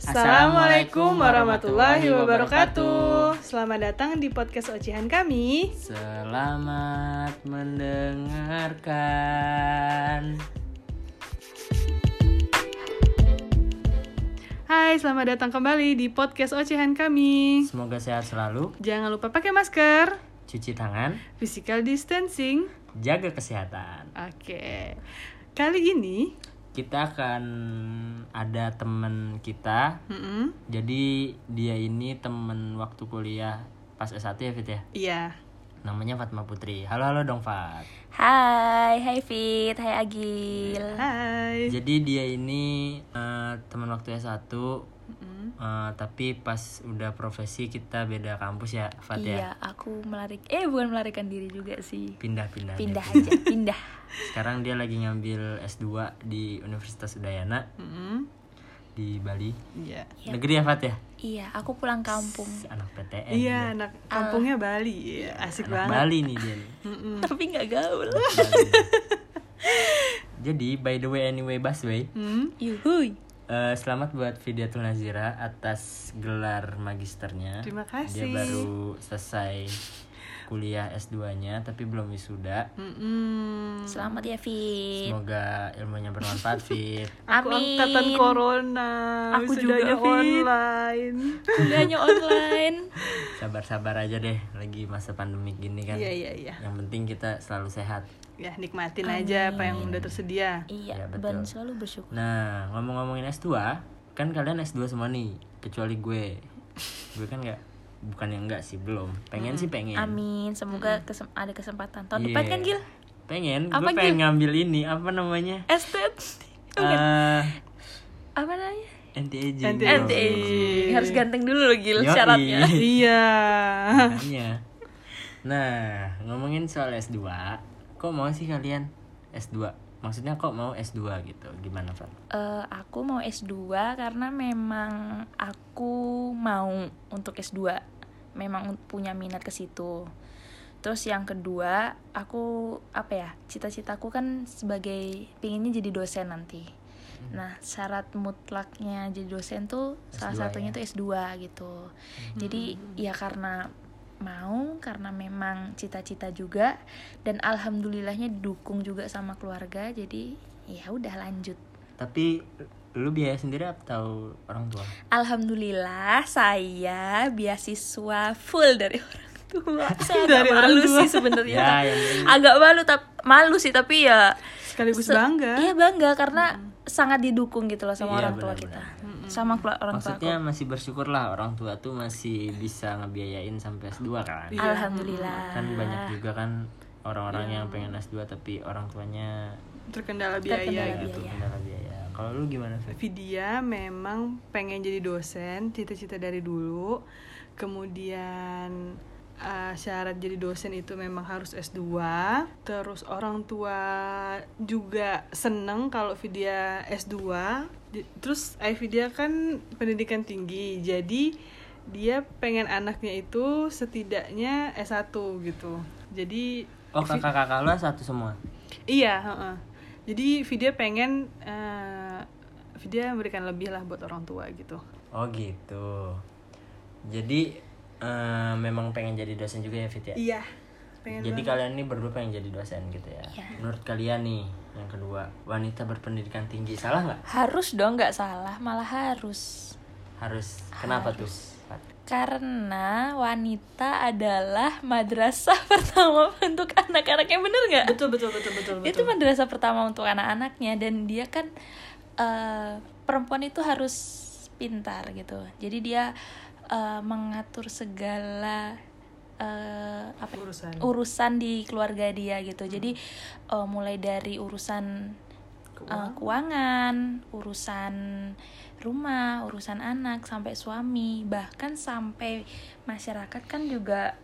Assalamualaikum warahmatullahi wabarakatuh. Selamat datang di podcast ocehan kami. Selamat mendengarkan. Hai, selamat datang kembali di podcast ocehan kami. Semoga sehat selalu, Jangan lupa pakai masker, cuci tangan, physical distancing. jaga kesehatan. Oke. Kali ini, Kita akan ada temen kita. mm-mm, Jadi dia ini temen waktu kuliah pas S1 ya Fit ya. iya. Namanya Fatma Putri. Halo halo dong Fat. Hai, hai Fit, hai Iya, Agil. Hai. Jadi dia ini eh, teman waktu S1 Mm-mm. eh, tapi pas udah profesi kita beda kampus ya Fat ya. Iya, aku melarik. Eh, bukan melarikan diri juga sih. Iya, Pindah-pindah. Pindah aja, pindah. Sekarang dia lagi ngambil S2 di Universitas Udayana Mm-mm. di Bali. Iya. Negeri ya Fat ya? Iya, aku pulang kampung. Si Anak Iya, PTN. dia. Ah. anak kampungnya Bali. Iya, Asik Anak banget. Bali nih dia nih. Mm-mm. Tapi nggak gaul. Bali. Jadi by the way anyway busway Mm. Yuhuy. eh, selamat buat Fidiatul Nazira atas gelar magisternya. Terima Dia kasih. baru selesai kuliah S2-nya tapi belum wisuda. Mm-mm. Hmm. Selamat ya Iya. Fit. Semoga ilmunya bermanfaat Fit. Aku Amin. angkatan corona. Aku wisudanya juga, Fit. online. Kuliahnya online. Sabar-sabar aja deh lagi masa pandemik gini kan. Iya iya iya. Yang penting kita selalu sehat. Ya nikmatin aja apa yang udah tersedia. Iya, Iya, betul. ban selalu bersyukur. Nah, ngomong-ngomongin S2, kan kalian S2 semua nih, kecuali gue. Gue kan nggak bukan yang enggak sih, belum. Pengen sih pengen. Amin, semoga kesem- ada kesempatan Hmm. tahun Iya. depan kan Gil? Pengen, Apa, Oh, gue pengen ngambil ini, apa namanya? Estet. Eh, Apa namanya? anti aging. Anti-aging. Nanti eh, harus ganteng dulu loh Iya. Gil Yoi. syaratnya. iya. Makanya. Iya. Nah, ngomongin soal S2, kok mau sih kalian S2? Maksudnya kok mau S2 gitu? Gimana, Pak? Eh, aku mau S2 karena memang aku mau untuk S2. Memang un- punya minat ke situ. Terus yang kedua, aku apa ya? Cita-citaku kan sebagai pinginnya jadi dosen nanti. Nah, syarat mutlaknya jadi dosen tuh salah S2 satunya ya? tuh S2 gitu. Jadi ya karena mau karena memang cita-cita juga dan alhamdulillahnya didukung juga sama keluarga. Jadi ya udah lanjut. Tapi lu biaya sendiri atau orang tua? Alhamdulillah saya beasiswa full dari orang tua. Saya Dari dari orang malu tua. sih sebenarnya. Ya, yang penting- Agak malu tapi malu sih tapi ya Sekaligus se- bangga. Iya bangga karena sangat didukung gitu loh sama Iya, orang tua benar-benar. kita. Sama kelu- orang tua aku. Maksudnya masih bersyukur lah orang tua tuh masih bisa ngebiayain sampai S2 kan. Iya. Alhamdulillah. Kan banyak juga kan orang-orang yang pengen S2 tapi orang tuanya Terkendala Terkendala biaya. biaya. itu kendala biaya. Kalau lu gimana, Fit? Vidya memang pengen jadi dosen, cita-cita dari dulu. Kemudian eh, syarat jadi dosen itu memang harus S2. Terus orang tua juga seneng kalau Vidya S2. Di- Terus ayah Vidya kan pendidikan tinggi, jadi dia pengen anaknya itu setidaknya S1 gitu. Jadi Oh, kakak-kakak lu satu semua. Iya, heeh. jadi Vidya pengen eh Vidya memberikan lebih lah buat orang tua gitu. Oh, gitu. Jadi eh, memang pengen jadi dosen juga ya, Fit ya? Iya, Jadi kalian ini berdua pengen jadi dosen gitu ya. Menurut kalian nih, yang kedua, wanita berpendidikan tinggi salah nggak? Harus dong nggak salah, malah harus. Harus. Kenapa tuh? Pat? Karena wanita adalah madrasah pertama untuk anak-anaknya bener nggak? betul betul betul betul itu madrasah pertama untuk anak-anaknya dan dia kan eh, perempuan itu harus pintar gitu jadi dia eh, mengatur segala eh, apa Urusan. Hmm. urusan di keluarga dia gitu jadi eh, mulai dari urusan eh, keuangan urusan rumah urusan anak sampai suami bahkan sampai masyarakat kan juga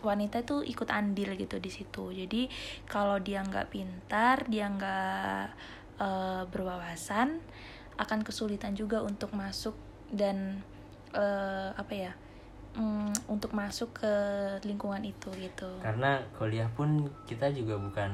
wanita itu ikut andil gitu di situ jadi kalau dia nggak pintar dia nggak eh, berwawasan akan kesulitan juga untuk masuk dan eh, apa ya mm, untuk masuk ke lingkungan itu gitu Karena kuliah pun kita juga bukan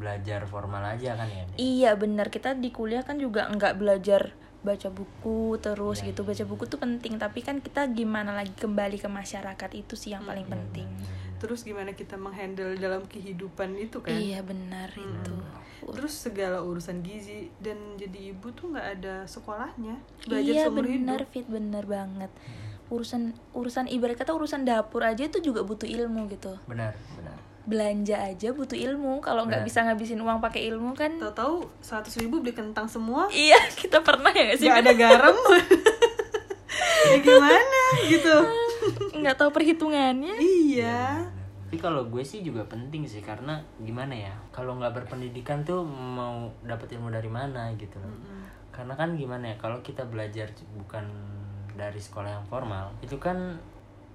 belajar formal aja kan ya Dek? Iya benar kita di kuliah kan juga nggak belajar baca buku terus Iya, gitu iya. baca buku tuh penting tapi kan kita gimana lagi kembali ke masyarakat itu sih yang paling Iya, penting bener. terus gimana kita menghandle dalam kehidupan itu kan iya benar itu Hmm. terus segala urusan gizi dan jadi ibu tuh nggak ada sekolahnya belajar iya seumur benar hidup fit benar banget urusan urusan ibarat kata urusan dapur aja itu juga butuh ilmu gitu benar benar belanja aja butuh ilmu kalau Nah. nggak Benar. bisa ngabisin uang pakai ilmu kan tahu-tahu seratus ribu beli kentang semua iya kita pernah ya nggak sih nggak ada garam ya gimana gitu nggak tahu perhitungannya iya tapi kalau gue sih juga penting sih karena gimana ya kalau nggak berpendidikan tuh mau dapat ilmu dari mana gitu loh karena kan gimana ya kalau kita belajar c- bukan dari sekolah yang formal itu kan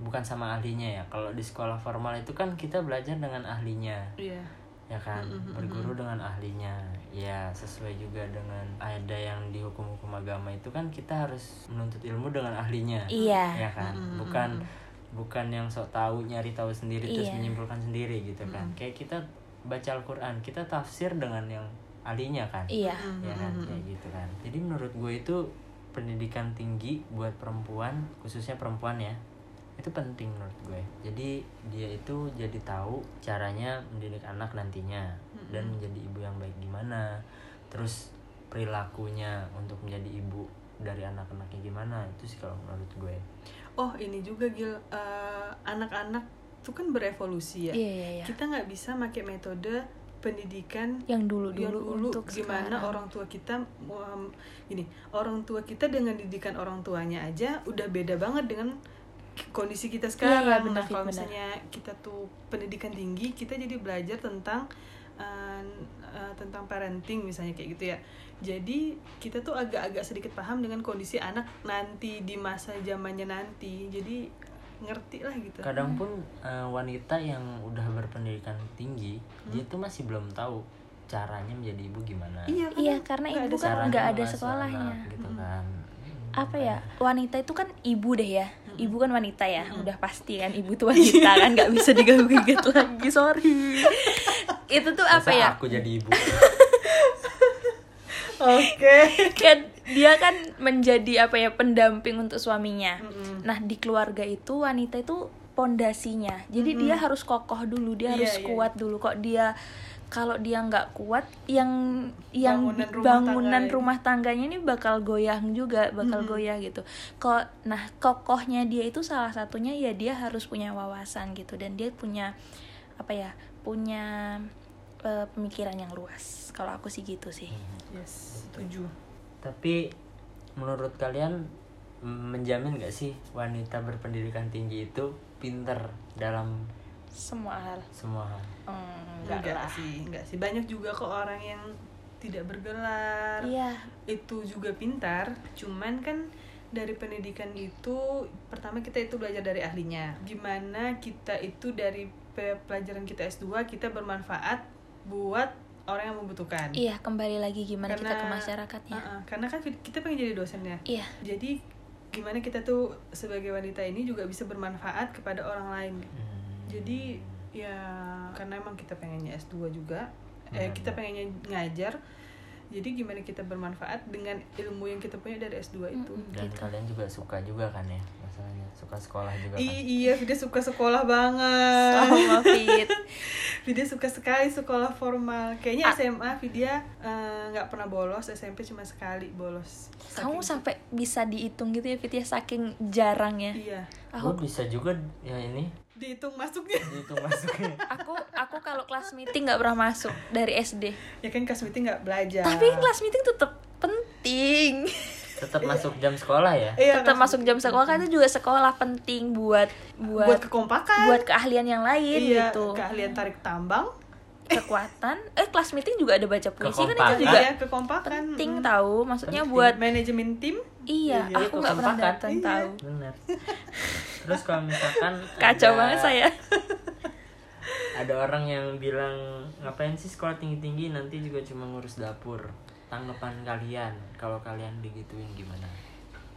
bukan sama ahlinya ya kalau di sekolah formal itu kan kita belajar dengan ahlinya iya ya kan berguru dengan ahlinya ya sesuai juga dengan ada yang di hukum-hukum agama itu kan kita harus menuntut ilmu dengan ahlinya iya ya kan bukan bukan yang sok tahu nyari tahu sendiri terus Iya. menyimpulkan sendiri gitu kan kayak kita baca Al-Qur'an kita tafsir dengan yang ahlinya kan iya ya kan kayak gitu kan jadi menurut gue itu pendidikan tinggi buat perempuan khususnya perempuan ya itu penting menurut gue jadi dia itu jadi tahu caranya mendidik anak nantinya dan menjadi ibu yang baik gimana terus perilakunya untuk menjadi ibu dari anak-anaknya gimana itu sih kalau menurut gue oh ini juga gil Eh, anak-anak tuh kan berevolusi ya iya iya iya. kita nggak bisa pakai metode pendidikan yang dulu yang dulu untuk gimana sekarang. orang tua kita um, gini orang tua kita dengan didikan orang tuanya aja udah beda banget dengan k- kondisi kita sekarang Iya, iya, benar, nah Fit, kalau benar. misalnya kita tuh pendidikan tinggi kita jadi belajar tentang uh, uh, tentang parenting misalnya kayak gitu ya jadi kita tuh agak-agak sedikit paham dengan kondisi anak nanti di masa zamannya nanti jadi ngerti lah gitu kadang pun eh, wanita yang udah berpendidikan tinggi dia tuh masih belum tahu caranya menjadi ibu gimana iya Iya, karena nggak ada ibu kan Caranya nggak ada mengasuh anak, sekolahnya. nah. Hmm. gitu kan apa ya wanita itu kan ibu deh ya ibu kan wanita ya udah pasti kan ibu tuh wanita kan nggak bisa diganggu gugat lagi sorry itu tuh apa Masa ya aku jadi ibu oke kan dia kan menjadi apa ya pendamping untuk suaminya Mm-mm. nah di keluarga itu wanita itu pondasinya jadi dia harus kokoh dulu dia Iya, harus iya. kuat dulu kok dia kalau dia nggak kuat yang yang Bangunan rumah bangunan tangga ini. rumah tangganya ini bakal goyang juga bakal goyah gitu kok nah kokohnya dia itu salah satunya ya dia harus punya wawasan gitu dan dia punya apa ya punya eh, pemikiran yang luas kalau aku sih gitu sih Hmm. yes setuju tapi menurut kalian mm, menjamin gak sih wanita berpendidikan tinggi itu pinter dalam semua hal semua hal enggak Hmm, enggak sih enggak sih banyak juga kok orang yang tidak bergelar iya itu juga pintar cuman kan dari pendidikan itu pertama kita itu belajar dari ahlinya gimana kita itu dari pe- pelajaran kita S2 kita bermanfaat buat orang yang membutuhkan iya kembali lagi gimana kita ke Karena- masyarakatnya Uh-uh, karena kan kita pengen jadi dosennya iya jadi gimana kita tuh sebagai wanita ini juga bisa bermanfaat kepada orang lain Hmm. jadi ya karena emang kita pengennya S2 juga eh kita pengennya ngajar jadi gimana kita bermanfaat dengan ilmu yang kita punya dari S2 itu dan kalian juga suka juga kan ya masalahnya suka sekolah juga kan I- iya Vida suka sekolah banget sama fit Vida suka sekali sekolah formal kayaknya Ah. SMA Vida eh, nggak pernah bolos SMP cuma sekali bolos kamu Saking- sampai bisa dihitung gitu ya fit ya saking jarangnya iya Gue bisa juga ya ini dihitung masuknya itu masuknya aku aku kalau kelas meeting nggak pernah masuk dari SD ya kan kelas meeting nggak belajar tapi kelas meeting tetap penting tetap masuk jam sekolah ya Iya, tetap kelas masuk jam sekolah kan itu juga sekolah penting buat buat, buat kekompakan buat keahlian yang lain iya gitu keahlian tarik tambang kekuatan eh kelas meeting juga ada baca puisi kan itu Kekompakan. juga iya kekompakan penting mm. tahu maksudnya buat manajemen tim Iya, Iya, aku nggak pernah kekompakan. datang Iya. tahu. benar terus kalau misalkan Kacau ada- banget saya. ada orang yang bilang ngapain sih sekolah tinggi tinggi nanti juga cuma ngurus dapur tanggapan kalian kalau kalian digituin gimana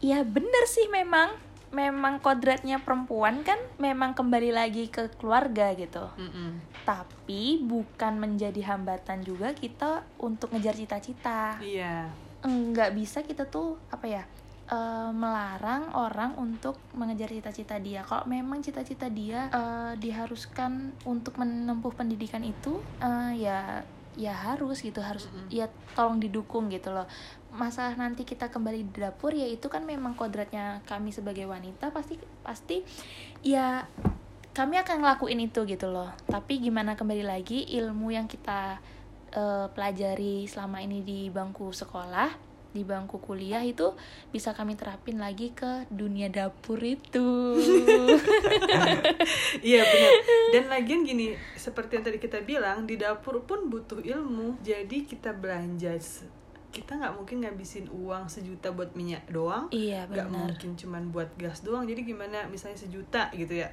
Iya bener sih memang. memang kodratnya perempuan kan memang kembali lagi ke keluarga gitu Mm-mm. tapi bukan menjadi hambatan juga kita untuk ngejar cita-cita Iya. nggak bisa kita tuh apa ya eh, melarang orang untuk mengejar cita-cita dia kalau memang cita-cita dia eh, diharuskan untuk menempuh pendidikan itu eh, ya ya harus gitu harus Mm-mm. ya tolong didukung gitu loh masalah nanti kita kembali di dapur ya itu kan memang kodratnya kami sebagai wanita pasti pasti ya kami akan ngelakuin itu gitu loh tapi gimana kembali lagi ilmu yang kita eh, pelajari selama ini di bangku sekolah di bangku kuliah itu bisa kami terapin lagi ke dunia dapur itu Iya benar. Dan lagian gini, seperti yang tadi kita bilang, di dapur pun butuh ilmu. Jadi kita belanja, se- kita nggak mungkin ngabisin uang sejuta buat minyak doang. iya Nggak benar mungkin cuman buat gas doang. Jadi gimana, misalnya sejuta gitu ya.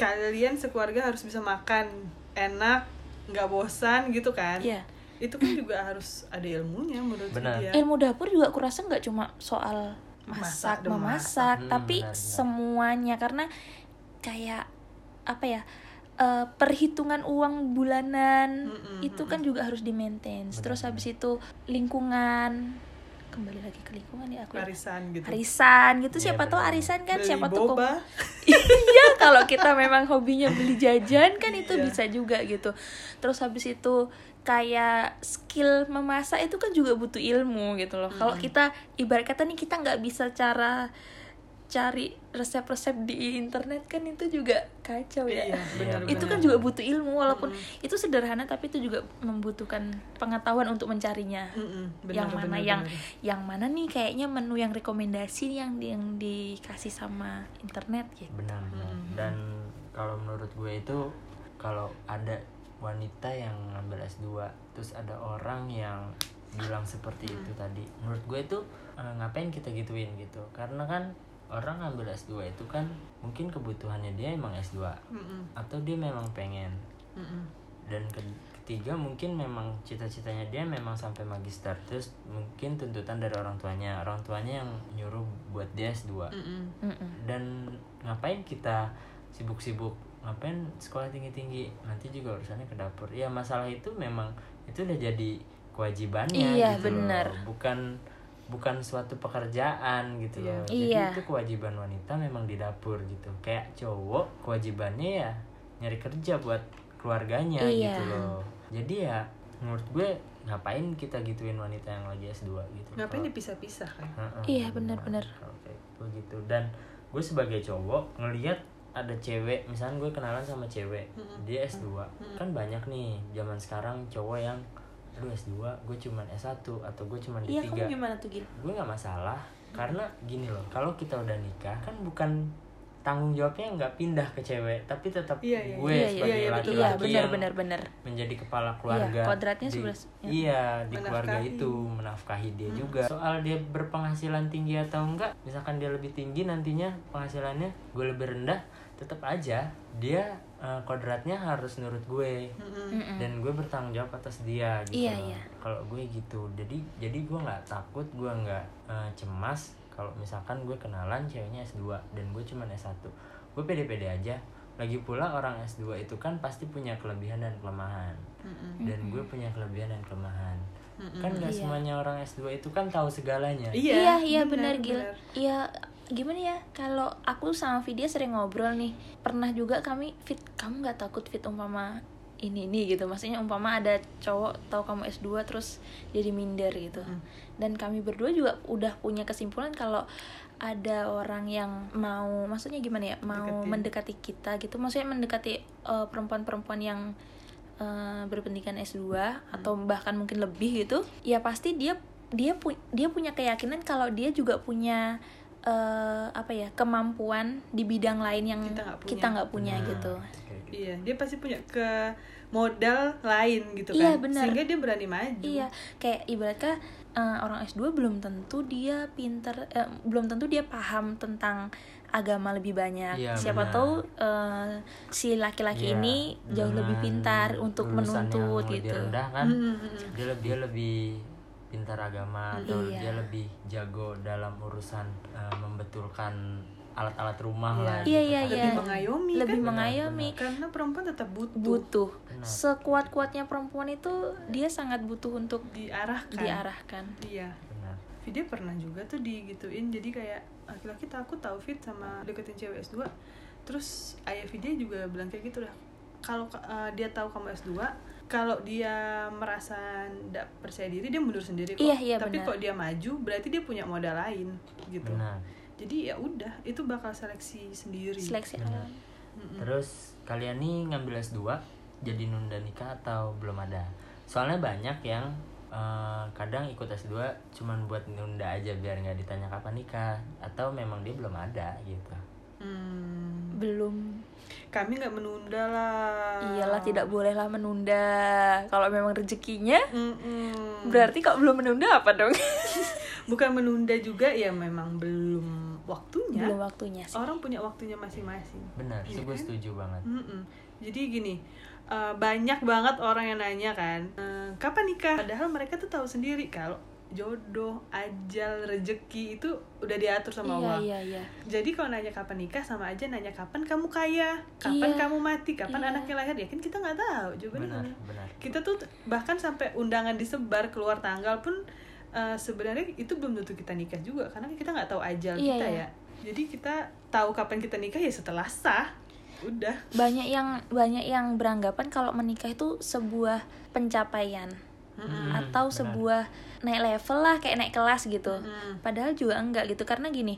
Kalian sekeluarga harus bisa makan enak, nggak bosan gitu kan? iya Itu kan juga harus ada ilmunya menurut Benar. dia. ilmu dapur juga aku rasa nggak cuma soal Masak, masak demasak. memasak Hmm, tapi benar, benar. semuanya karena kayak apa ya eh, perhitungan uang Hmm, bulanan Mm-mm, itu kan juga harus di maintain Benar, terus benar. habis itu lingkungan kembali lagi ke lingkungan ya aku ya. Arisan gitu. arisan gitu Iya, siapa tahu benar. arisan kan Beli siapa tuh boba. iya kalau kita memang hobinya beli jajan kan itu Iya. bisa juga gitu terus habis itu kayak skill memasak itu kan juga butuh ilmu gitu loh kalau kita ibarat kata nih kita nggak bisa cara cari resep-resep di internet kan itu juga kacau ya Iya, benar. itu kan juga butuh ilmu walaupun itu sederhana tapi itu juga membutuhkan pengetahuan untuk mencarinya yang mana yang yang mana nih kayaknya menu yang rekomendasi yang yang dikasih sama internet gitu benar benar Mm-mm. dan kalau menurut gue itu kalau ada wanita yang ngambil S2 terus ada orang yang bilang seperti itu tadi menurut gue itu eh, ngapain kita gituin gitu karena kan orang ngambil S2 itu kan mungkin kebutuhannya dia emang S2 Mm-mm, atau dia memang pengen mm-mm. dan ke- ketiga mungkin memang cita-citanya dia memang sampai magister terus mungkin tuntutan dari orang tuanya orang tuanya yang nyuruh buat dia S2 Mm-mm. Mm-mm. dan ngapain kita sibuk-sibuk ngapain sekolah tinggi-tinggi nanti juga urusannya ke dapur ya masalah itu memang itu udah jadi kewajibannya Iya, gitu loh. bener. bukan bukan suatu pekerjaan gitu Iya. loh Iya. jadi itu kewajiban wanita memang di dapur gitu kayak cowok kewajibannya ya nyari kerja buat keluarganya Iya. gitu loh jadi ya menurut gue ngapain kita gituin wanita yang lagi S2 gitu Ngapain Kalau- dipisah-pisah kan? Heeh, Iya, bener. bener-bener. Kalau kayak gue gitu dan gue sebagai cowok ngelihat ada cewek misalnya gue kenalan sama cewek Mm-mm. dia S2 kan banyak nih zaman sekarang cowok yang aduh S2 gue cuman S1 atau gue cuman D3 Iya, kamu gimana tuh Gil? gue nggak masalah karena gini loh kalau kita udah nikah kan bukan tanggung jawabnya nggak pindah ke cewek tapi tetap Iya, iya, gue iya, iya, sebagai iya, betul. laki-laki Iya, yang benar benar benar. menjadi kepala keluarga. Iya, kodratnya di- sebelas- ya. Hmm. Iya, di keluarga Menafkahi. itu menafkahi dia juga. Soal dia berpenghasilan tinggi atau enggak, misalkan dia lebih tinggi nantinya penghasilannya gue lebih rendah, tetap aja dia eh, kodratnya harus nurut gue Mm-mm. Mm-mm. dan gue bertanggung jawab atas dia gitu Mm. Iya, loh. iya. kalau gue gitu jadi jadi gue nggak takut gue nggak eh, cemas kalau misalkan gue kenalan ceweknya S2 dan gue cuman S1 gue pede-pede aja lagi pula orang S2 itu kan pasti punya kelebihan dan kelemahan Mm-mm. dan gue punya kelebihan dan kelemahan Mm-mm. kan nggak Iya. semuanya orang S2 itu kan tahu segalanya Iya, Iya, iya benar, benar Gil. benar. Iya, gimana ya? Kalau aku sama Vidya sering ngobrol nih. Pernah juga kami fit kamu nggak takut fit umpama ini ini gitu. Maksudnya umpama ada cowok tahu kamu S2 terus jadi minder gitu. Mm. Dan kami berdua juga udah punya kesimpulan kalau ada orang yang mau maksudnya gimana ya? mau Deketin. mendekati kita gitu. Maksudnya mendekati eh, perempuan-perempuan yang eh, berpendidikan S2 atau bahkan mungkin lebih gitu ya pasti dia dia pu- dia punya keyakinan kalau dia juga punya eh, apa ya kemampuan di bidang lain yang Kita nggak punya. kita nggak punya, Nah, gitu kayak gitu. Iya, dia pasti punya ke modal lain gitu kan. Iya, benar. Sehingga dia berani maju. iya kayak ibaratnya eh, orang S2 belum tentu dia pinter eh, belum tentu dia paham tentang agama lebih banyak Iya, siapa benar. tahu eh, si laki-laki Iya, ini jauh lebih dengan pintar untuk lulusan yang menuntut lebih gitu rendah kan Mm, mm, mm. dia lebih dia lebih pintar agama atau Iya. dia lebih jago dalam urusan eh, membetulkan alat-alat rumah Iya. lah Iya, gitu iya, kan. lebih iya. mengayomi lebih kan Benar, mengayomi karena perempuan tetap butuh, butuh Benar. sekuat-kuatnya perempuan itu dia sangat butuh untuk diarahkan diarahkan iya Benar. Vidya pernah juga tuh digituin jadi kayak laki-laki takut tau Vid sama deketin cewek S2 terus ayah Vidya juga bilang kayak gitu lah kalau eh, dia tahu kamu S2 kalau dia merasa tidak percaya diri dia mundur sendiri kok Iya, iya, tapi benar. kok dia maju berarti dia punya modal lain gitu Benar. jadi ya udah itu bakal seleksi sendiri seleksi Benar. alam Mm-mm. Terus kalian nih ngambil S2 jadi nunda nikah atau belum ada? Soalnya banyak yang eh, kadang ikut S2 cuman buat nunda aja biar nggak ditanya kapan nikah atau memang dia belum ada gitu. Hmm. belum kami nggak menunda lah iyalah tidak bolehlah menunda kalau memang rezekinya Mm-mm. berarti kok belum menunda apa dong bukan menunda juga ya memang belum waktunya belum waktunya sih orang punya waktunya masing-masing. Benar, Iya itu gue kan? setuju banget. Mm-mm. Jadi gini, eh, banyak banget orang yang nanya kan, eh, kapan nikah? Padahal mereka tuh tahu sendiri kalau jodoh, ajal, rezeki itu udah diatur sama iya Allah. iya iya Jadi kalau nanya kapan nikah sama aja nanya kapan kamu kaya, kapan Iya. kamu mati, kapan Iya. anaknya lahir, ya kan kita nggak tahu jawabannya. Benar, kan? benar. Kita tuh bahkan sampai undangan disebar keluar tanggal pun eh, sebenarnya itu belum tentu kita nikah juga karena kita nggak tahu ajal Iya, kita iya. ya. Jadi kita tahu kapan kita nikah ya setelah sah. Udah. banyak yang banyak yang beranggapan kalau menikah itu sebuah pencapaian Mm-mm. atau Benar. sebuah naik level lah kayak naik kelas gitu Mm. padahal juga enggak gitu karena gini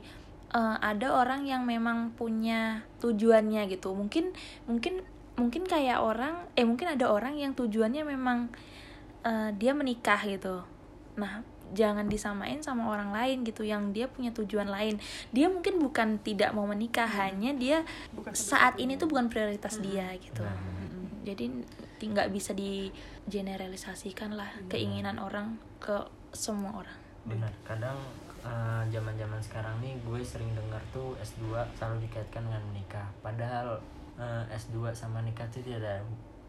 eh, ada orang yang memang punya tujuannya gitu mungkin mungkin mungkin kayak orang eh mungkin ada orang yang tujuannya memang eh, dia menikah gitu nah jangan disamain sama orang lain gitu yang dia punya tujuan lain dia mungkin bukan tidak mau menikah hanya dia Bukan saat ini tuh bukan prioritas dia gitu Benar, benar. jadi ti- nggak bisa di generalisasikan lah keinginan orang ke semua orang Benar. Kadang eh, zaman-zaman sekarang nih gue sering dengar tuh S2 selalu dikaitkan dengan menikah. Padahal eh, S2 sama nikah tuh tidak ada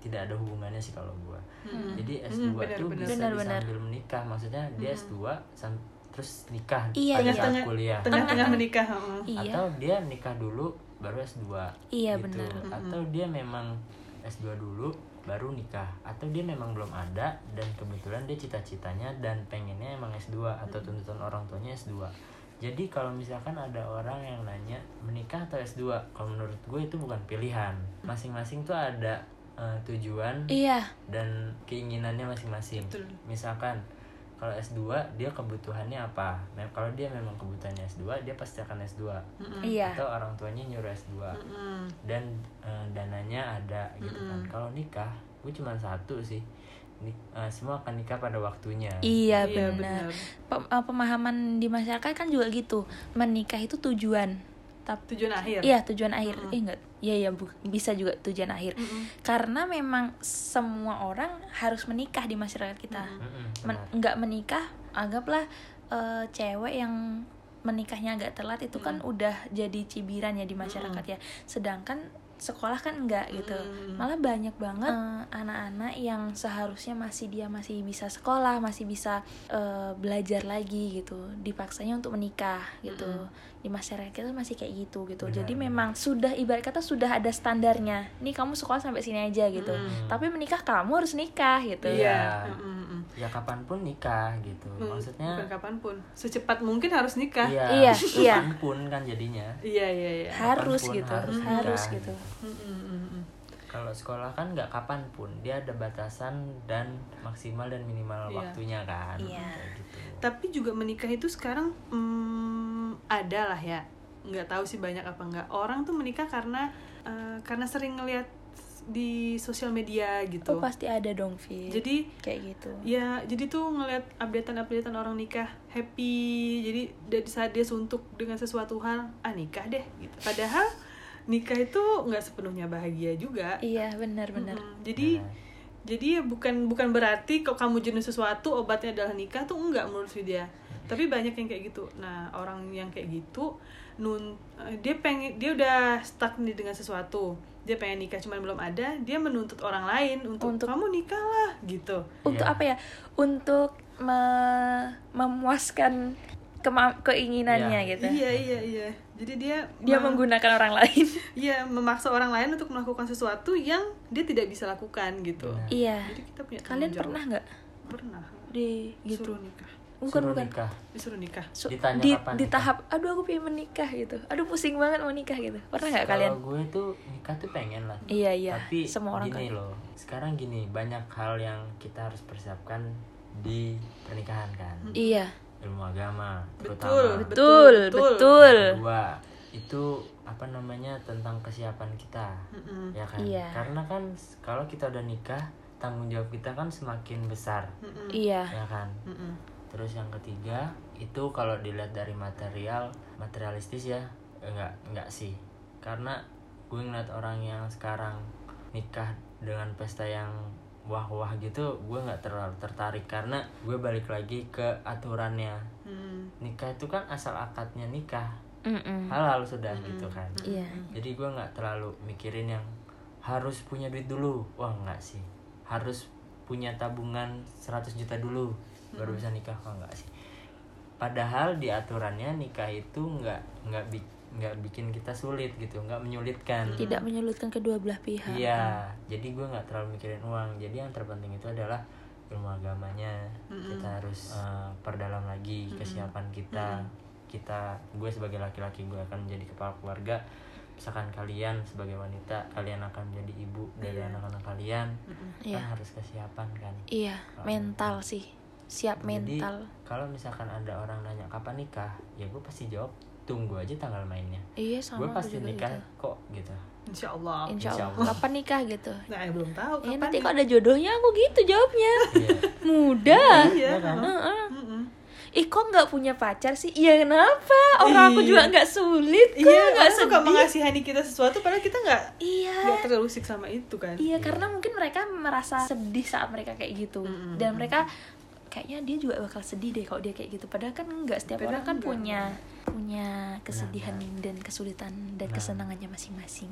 tidak ada hubungannya sih kalau gue. Mm. Jadi Mm, S2 benar, tuh benar. bisa Benar, benar. disambil menikah. Maksudnya dia Mm. S2 sam- terus nikah Iya, pada iya. saat Tengah-tengah- kuliah. Tengah-tengah menikah. heeh. iya Atau dia nikah dulu baru S2. Iya, gitu. benar. Atau dia memang S2 dulu baru nikah atau dia memang belum ada dan kebetulan dia cita-citanya dan pengennya emang S2 atau tuntutan orang tuanya S2. Jadi kalau misalkan ada orang yang nanya menikah atau S2, kalau menurut gue itu bukan pilihan. Masing-masing tuh ada eh, tujuan iya dan keinginannya masing-masing. Betul. Misalkan kalau S2 dia kebutuhannya apa? Nah, kalau dia memang kebutuhannya S2, dia pasti akan S2. Mm-mm. iya Atau orang tuanya nyuruh S2 Mm-mm. dan eh, dananya ada gitu kan. Mm-mm. Kalau nikah, gue cuma satu sih. Ni- eh, semua akan nikah pada waktunya. iya Iya, benar Pem- eh, pemahaman di masyarakat kan juga gitu menikah itu tujuan tapi Tujuan akhir. iya tujuan akhir Mm-mm. eh enggak iya iya bu- bisa juga tujuan akhir Mm-mm. karena memang semua orang harus menikah di masyarakat kita Mm-mm. Mm-mm, benar. Men- nggak menikah anggaplah eh, cewek yang menikahnya agak telat itu kan udah jadi cibiran ya di masyarakat ya sedangkan sekolah kan enggak gitu Mm. malah banyak banget eh, anak-anak yang seharusnya masih dia masih bisa sekolah masih bisa eh, belajar lagi gitu dipaksanya untuk menikah gitu di masyarakat itu masih kayak gitu gitu Benar, jadi benar. memang sudah ibarat kata sudah ada standarnya nih kamu sekolah sampai sini aja gitu Mm. tapi menikah kamu harus nikah gitu Iya. Iya. Mm-mm. Ya kapanpun nikah gitu. Bukan Maksudnya kapanpun, secepat mungkin harus Mm. nikah. iya, Iya, iya. kapanpun kan jadinya. Iya iya iya. harus Kapanpun gitu harus, harus nikah, gitu gitu. Mm-mm, mm-mm. Kalau sekolah kan nggak kapanpun, dia ada batasan dan maksimal dan Iya. minimal waktunya kan. Iya. Kayak gitu. Tapi juga menikah itu sekarang mm, ada lah ya. Nggak tahu sih banyak apa nggak. Orang tuh menikah karena eh, karena sering ngeliat di sosial media oh gitu. pasti ada dong Vi Jadi kayak gitu Ya, jadi tuh ngelihat updatean-updatean orang nikah happy. Jadi dari saat dia suntuk dengan sesuatu hal, ah nikah deh gitu. Padahal nikah itu nggak sepenuhnya bahagia juga. iya benar benar Mm-mm. Jadi Iya. Nah, jadi ya bukan bukan berarti kalau kamu jenuh sesuatu obatnya adalah nikah tuh enggak menurut dia. Tapi banyak yang kayak gitu. Nah, orang yang kayak gitu nun eh, dia pengen dia udah stuck nih dengan sesuatu. Dia pengen nikah cuman belum ada, dia menuntut orang lain untuk, Untuk- kamu nikah lah gitu. untuk Iya. apa ya untuk me- memuaskan kema- keinginannya gitu Iya iya iya. Jadi dia dia ma- menggunakan orang lain iya memaksa orang lain untuk melakukan sesuatu yang dia tidak bisa lakukan gitu. Benar. iya Jadi kita punya tanggung kalian jawab. pernah nggak Pernah. di gitu Disuruh nikah. bukan Suruh bukan nikah. Disuruh nikah. Su- Ditanya di, kapan di nikah? tahap aduh aku pengen menikah gitu aduh pusing banget mau nikah gitu pernah nggak Kalau kalian gue tuh nikah tuh pengen lah. iya iya Tapi semua orang gini kan loh. Sekarang gini banyak hal yang kita harus persiapkan di pernikahan kan. iya Ilmu agama Betul, terutama. betul Betul, betul, Kedua, itu apa namanya tentang kesiapan kita. Mm-mm. Ya kan? Iya. Karena kan s- kalau kita udah nikah, tanggung jawab kita kan semakin besar. Mm-mm. iya Ya kan? Mm-mm. Terus yang ketiga itu kalau dilihat dari material materialistis ya enggak enggak sih karena gue ngeliat orang yang sekarang nikah dengan pesta yang wah-wah gitu gue nggak terlalu tertarik karena gue balik lagi ke aturannya Mm-mm. nikah itu kan asal akadnya nikah Mm-mm. halal sudah gitu Hmm. kan iya jadi gue nggak terlalu mikirin yang harus punya duit dulu wah nggak sih harus punya tabungan 100 juta dulu baru bisa nikah kok nggak sih padahal di aturannya nikah itu nggak nggak bi- nggak bikin kita sulit gitu nggak menyulitkan tidak menyulitkan kedua belah pihak iya jadi gue nggak terlalu mikirin uang jadi yang terpenting itu adalah ilmu agamanya kita Ah. harus eh, perdalam lagi kesiapan kita kita gue sebagai laki-laki gue akan menjadi kepala keluarga misalkan kalian sebagai wanita kalian akan menjadi ibu dari anak-anak kalian Iya. kan harus kesiapan kan iya mental sih siap Jadi, mental kalau misalkan ada orang nanya kapan nikah ya gue pasti jawab tunggu aja tanggal mainnya gue iya sama aku pasti juga nikah gitu kok gitu Insya Allah. Insya Insya Allah. Allah. Kapan nikah gitu? Nah, ya belum tahu Ya kapan. nanti nih. kok ada jodohnya aku gitu jawabnya. Iya. Muda. Iya. Iya kan? Heeh. Mm-mm. Ih kok nggak punya pacar sih? Iya kenapa? Orang aku juga nggak sulit kok, Iya, nggak orang suka sedih. mengasihani kita sesuatu padahal kita nggak Iya. nggak terlalu sik sama itu kan. Iya karena mungkin mereka merasa sedih saat mereka kayak gitu Mm-mm. dan mereka kayaknya dia juga bakal sedih deh kalau dia kayak gitu. Padahal kan nggak setiap Padahal orang kan nggak. punya punya kesedihan Nah, dan kesulitan Nah. dan kesenangannya masing-masing.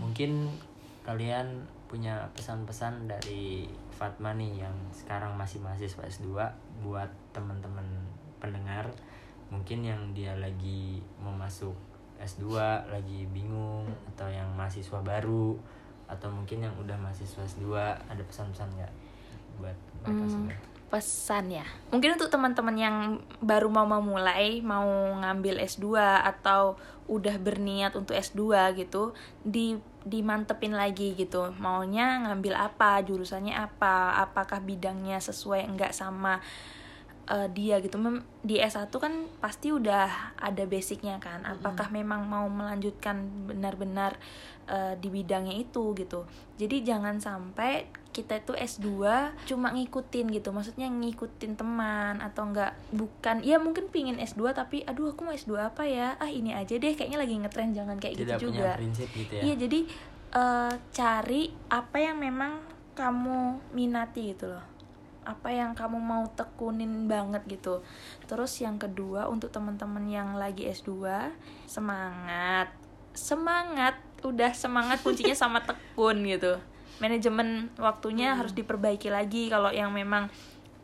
mungkin kalian punya pesan-pesan dari Fatma nih yang sekarang masih mahasiswa S2 buat teman-teman pendengar mungkin yang dia lagi mau masuk S2 lagi bingung atau yang mahasiswa baru atau mungkin yang udah mahasiswa S2 ada pesan-pesan nggak buat mereka Hmm, semua pesan ya mungkin untuk teman-teman yang baru mau memulai mau ngambil S2 atau udah berniat untuk S2 gitu di dimantepin lagi gitu maunya ngambil apa jurusannya apa apakah bidangnya sesuai enggak sama eh, dia gitu Mem- di S1 kan pasti udah ada basicnya kan apakah memang mau melanjutkan benar-benar eh, di bidangnya itu gitu jadi jangan sampai kita itu S2 cuma ngikutin gitu maksudnya ngikutin teman atau enggak bukan ya mungkin pingin S2 tapi aduh aku mau S2 apa ya ah ini aja deh kayaknya lagi ngetren jangan kayak tidak gitu punya juga prinsip gitu ya Iya jadi eh, cari apa yang memang kamu minati gitu loh apa yang kamu mau tekunin banget gitu terus yang kedua untuk teman-teman yang lagi S2 semangat semangat udah semangat kuncinya sama tekun gitu manajemen Hmm. waktunya harus diperbaiki lagi kalau yang memang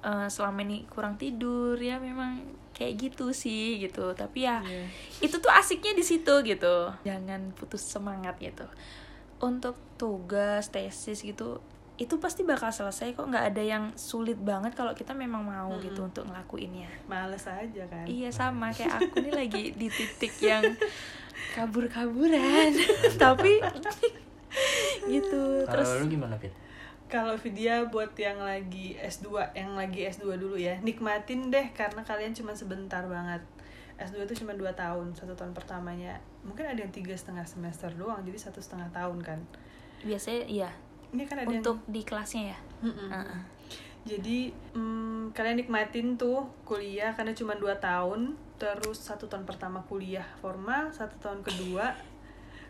eh, selama ini kurang tidur ya memang kayak gitu sih gitu tapi ya Iya. itu tuh asiknya di situ gitu jangan putus semangat gitu untuk tugas tesis gitu itu pasti bakal selesai kok nggak ada yang sulit banget kalau kita memang mau gitu untuk ngelakuinnya Males aja kan. iya sama kayak aku nih lagi di titik yang kabur-kaburan tapi gitu terus kalau lu gimana Fit? Kalau video buat yang lagi S2, yang lagi S2 dulu ya, nikmatin deh karena kalian cuma sebentar banget. S2 itu cuma 2 tahun, satu tahun pertamanya. Mungkin ada yang tiga setengah semester doang, jadi satu setengah tahun kan. biasanya iya Ini kan ada untuk di kelasnya ya yang... Mm-mm. Heeh. Jadi mm, kalian nikmatin tuh kuliah karena cuma 2 tahun, terus satu tahun pertama kuliah formal, satu tahun kedua,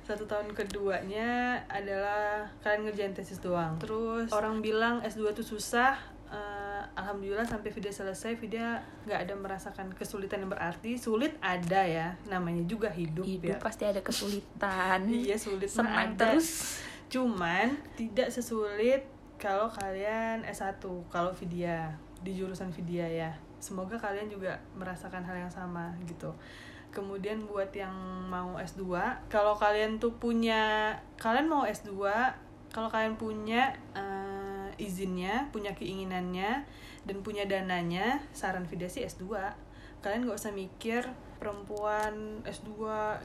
satu tahun keduanya adalah kalian ngerjain tesis doang. Terus orang bilang S2 tuh susah, eh, alhamdulillah sampai video selesai video nggak ada merasakan kesulitan yang berarti. Sulit ada ya, namanya juga hidup, ya. hidup pasti ada kesulitan Iya sulit mah senang ada. terus Cuman tidak sesulit kalau kalian S1, kalau Vidya. di jurusan Vidya ya. Semoga kalian juga merasakan hal yang sama gitu. Kemudian buat yang mau S2, kalau kalian tuh punya kalian mau S2, kalau kalian punya eh, izinnya, punya keinginannya dan punya dananya, saran Vidya sih S2. Kalian gak usah mikir perempuan S2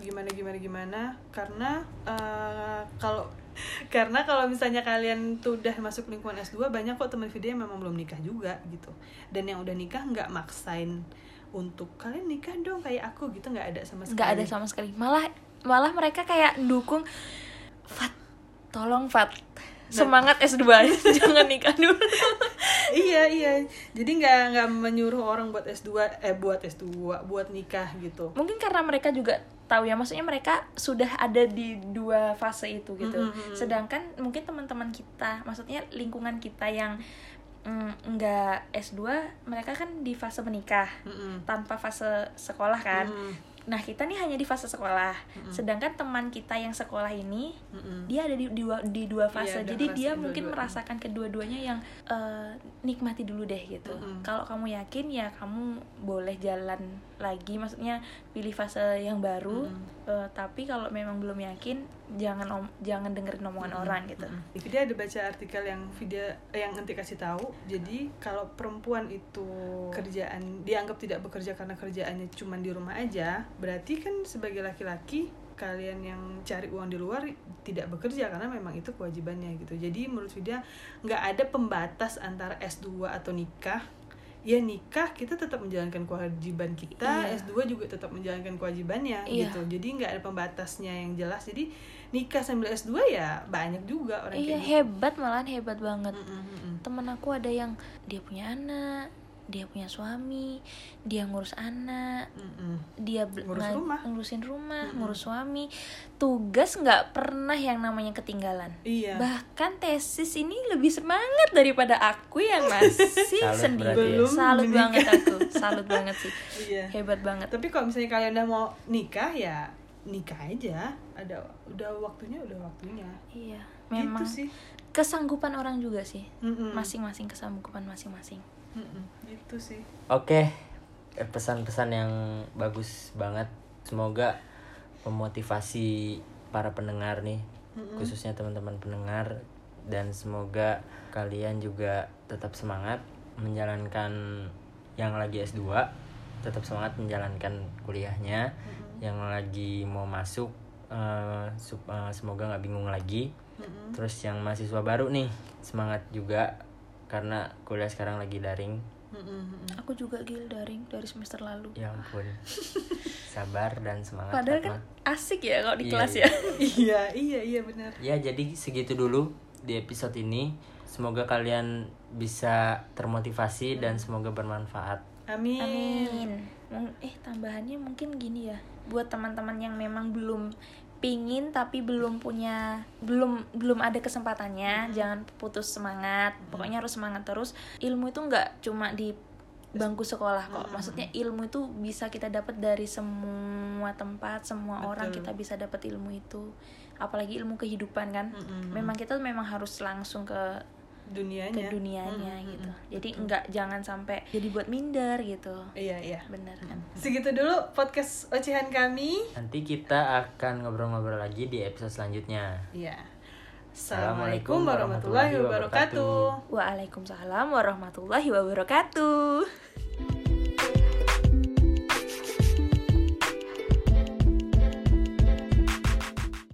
gimana gimana gimana karena eh, kalau karena kalau misalnya kalian tuh udah masuk lingkungan S2 banyak kok teman video yang memang belum nikah juga gitu dan yang udah nikah nggak maksain untuk kalian nikah dong kayak aku gitu nggak ada sama sekali nggak ada sama sekali malah malah mereka kayak dukung Fat tolong Fat Nah. semangat S2 jangan nikah dulu iya iya jadi nggak nggak menyuruh orang buat S2 eh buat S2 buat nikah gitu mungkin karena mereka juga tahu ya maksudnya mereka sudah ada di dua fase itu gitu Mm, mm, mm. sedangkan mungkin teman-teman kita maksudnya lingkungan kita yang mm, nggak S2 mereka kan di fase menikah Mm-mm. tanpa fase sekolah kan Mm, nah kita nih hanya di fase sekolah Mm-mm. sedangkan teman kita yang sekolah ini mm-mm. dia ada di dua di dua Iya, fase ada jadi fase dia mungkin kedua-duanya. merasakan kedua-duanya yang eh, nikmati dulu deh gitu Mm-mm. kalau kamu yakin ya kamu boleh jalan lagi maksudnya pilih fase yang baru Mm-mm. Eh, tapi kalau memang belum yakin jangan om- jangan dengerin omongan orang gitu Mm. Vidya ada baca artikel yang Vidya eh, yang nanti kasih tahu. Jadi kalau perempuan itu kerjaan dianggap tidak bekerja karena kerjaannya cuma di rumah aja, berarti kan sebagai laki-laki kalian yang cari uang di luar tidak bekerja karena memang itu kewajibannya gitu. Jadi menurut Vidya nggak ada pembatas antara S2 atau nikah. Ya nikah kita tetap menjalankan kewajiban kita, Iya. S2 juga tetap menjalankan kewajibannya Iya. gitu. Jadi nggak ada pembatasnya yang jelas. Jadi nikah sambil S2 ya banyak juga orang iya kayak gitu. hebat malahan hebat banget Mm, mm, mm, mm. temen aku ada yang dia punya anak dia punya suami dia ngurus anak Mm, mm. dia bel- Ngurus ngan- rumah. ngurusin rumah, Mm-mm. ngurus suami, tugas nggak pernah yang namanya ketinggalan. Iya. Bahkan tesis ini lebih semangat daripada aku yang masih Salut sendiri. berarti ya. Belum Salut menikah. banget aku, salut banget sih, Iya. hebat banget. Tapi kalau misalnya kalian udah mau nikah ya nikah aja. Ada udah waktunya udah waktunya. Iya, Gitu memang sih. kesanggupan orang juga sih, Mm, mm. masing-masing kesanggupan masing-masing. Mm, mm. Gitu sih. Oke, eh, pesan-pesan yang bagus banget. Semoga memotivasi para pendengar nih, Mm-mm. khususnya teman-teman pendengar dan semoga kalian juga tetap semangat menjalankan yang lagi S2, tetap semangat menjalankan kuliahnya. Mm, Yang lagi mau masuk eh, sup- eh, semoga nggak bingung lagi. mm, mm, mm. Terus yang mahasiswa baru nih, semangat juga karena kuliah sekarang lagi daring. Mm, mm, mm, mm. Aku juga gil daring dari semester lalu. Ya ampun. Sabar dan semangat. Padahal Fatma. kan asik ya kalau di Iya, kelas iya. ya. Iya, iya, iya benar. Ya jadi segitu dulu di episode ini. Semoga kalian bisa termotivasi dan semoga bermanfaat. Amin. Amin. Mung- Eh tambahannya mungkin gini ya. Buat teman-teman yang memang belum pingin tapi belum punya belum belum ada kesempatannya, Mm-hmm. jangan putus semangat. Pokoknya harus semangat terus. Ilmu itu nggak cuma di bangku sekolah kok. Mm. Maksudnya ilmu itu bisa kita dapat dari semua tempat, semua orang Betul. kita bisa dapat ilmu itu. Apalagi ilmu kehidupan kan. Mm, mm, mm. Memang kita memang harus langsung ke ke dunianya. dunianya Mm, mm, mm, gitu. mm. Jadi nggak jangan sampai jadi buat minder gitu. Iya, iya. Bener kan? Segitu dulu podcast ocehan kami. Nanti kita akan ngobrol-ngobrol lagi di episode selanjutnya. Iya. Assalamualaikum Assalamualaikum warahmatullahi warahmatullahi wabarakatuh. wabarakatuh. Waalaikumsalam warahmatullahi wabarakatuh.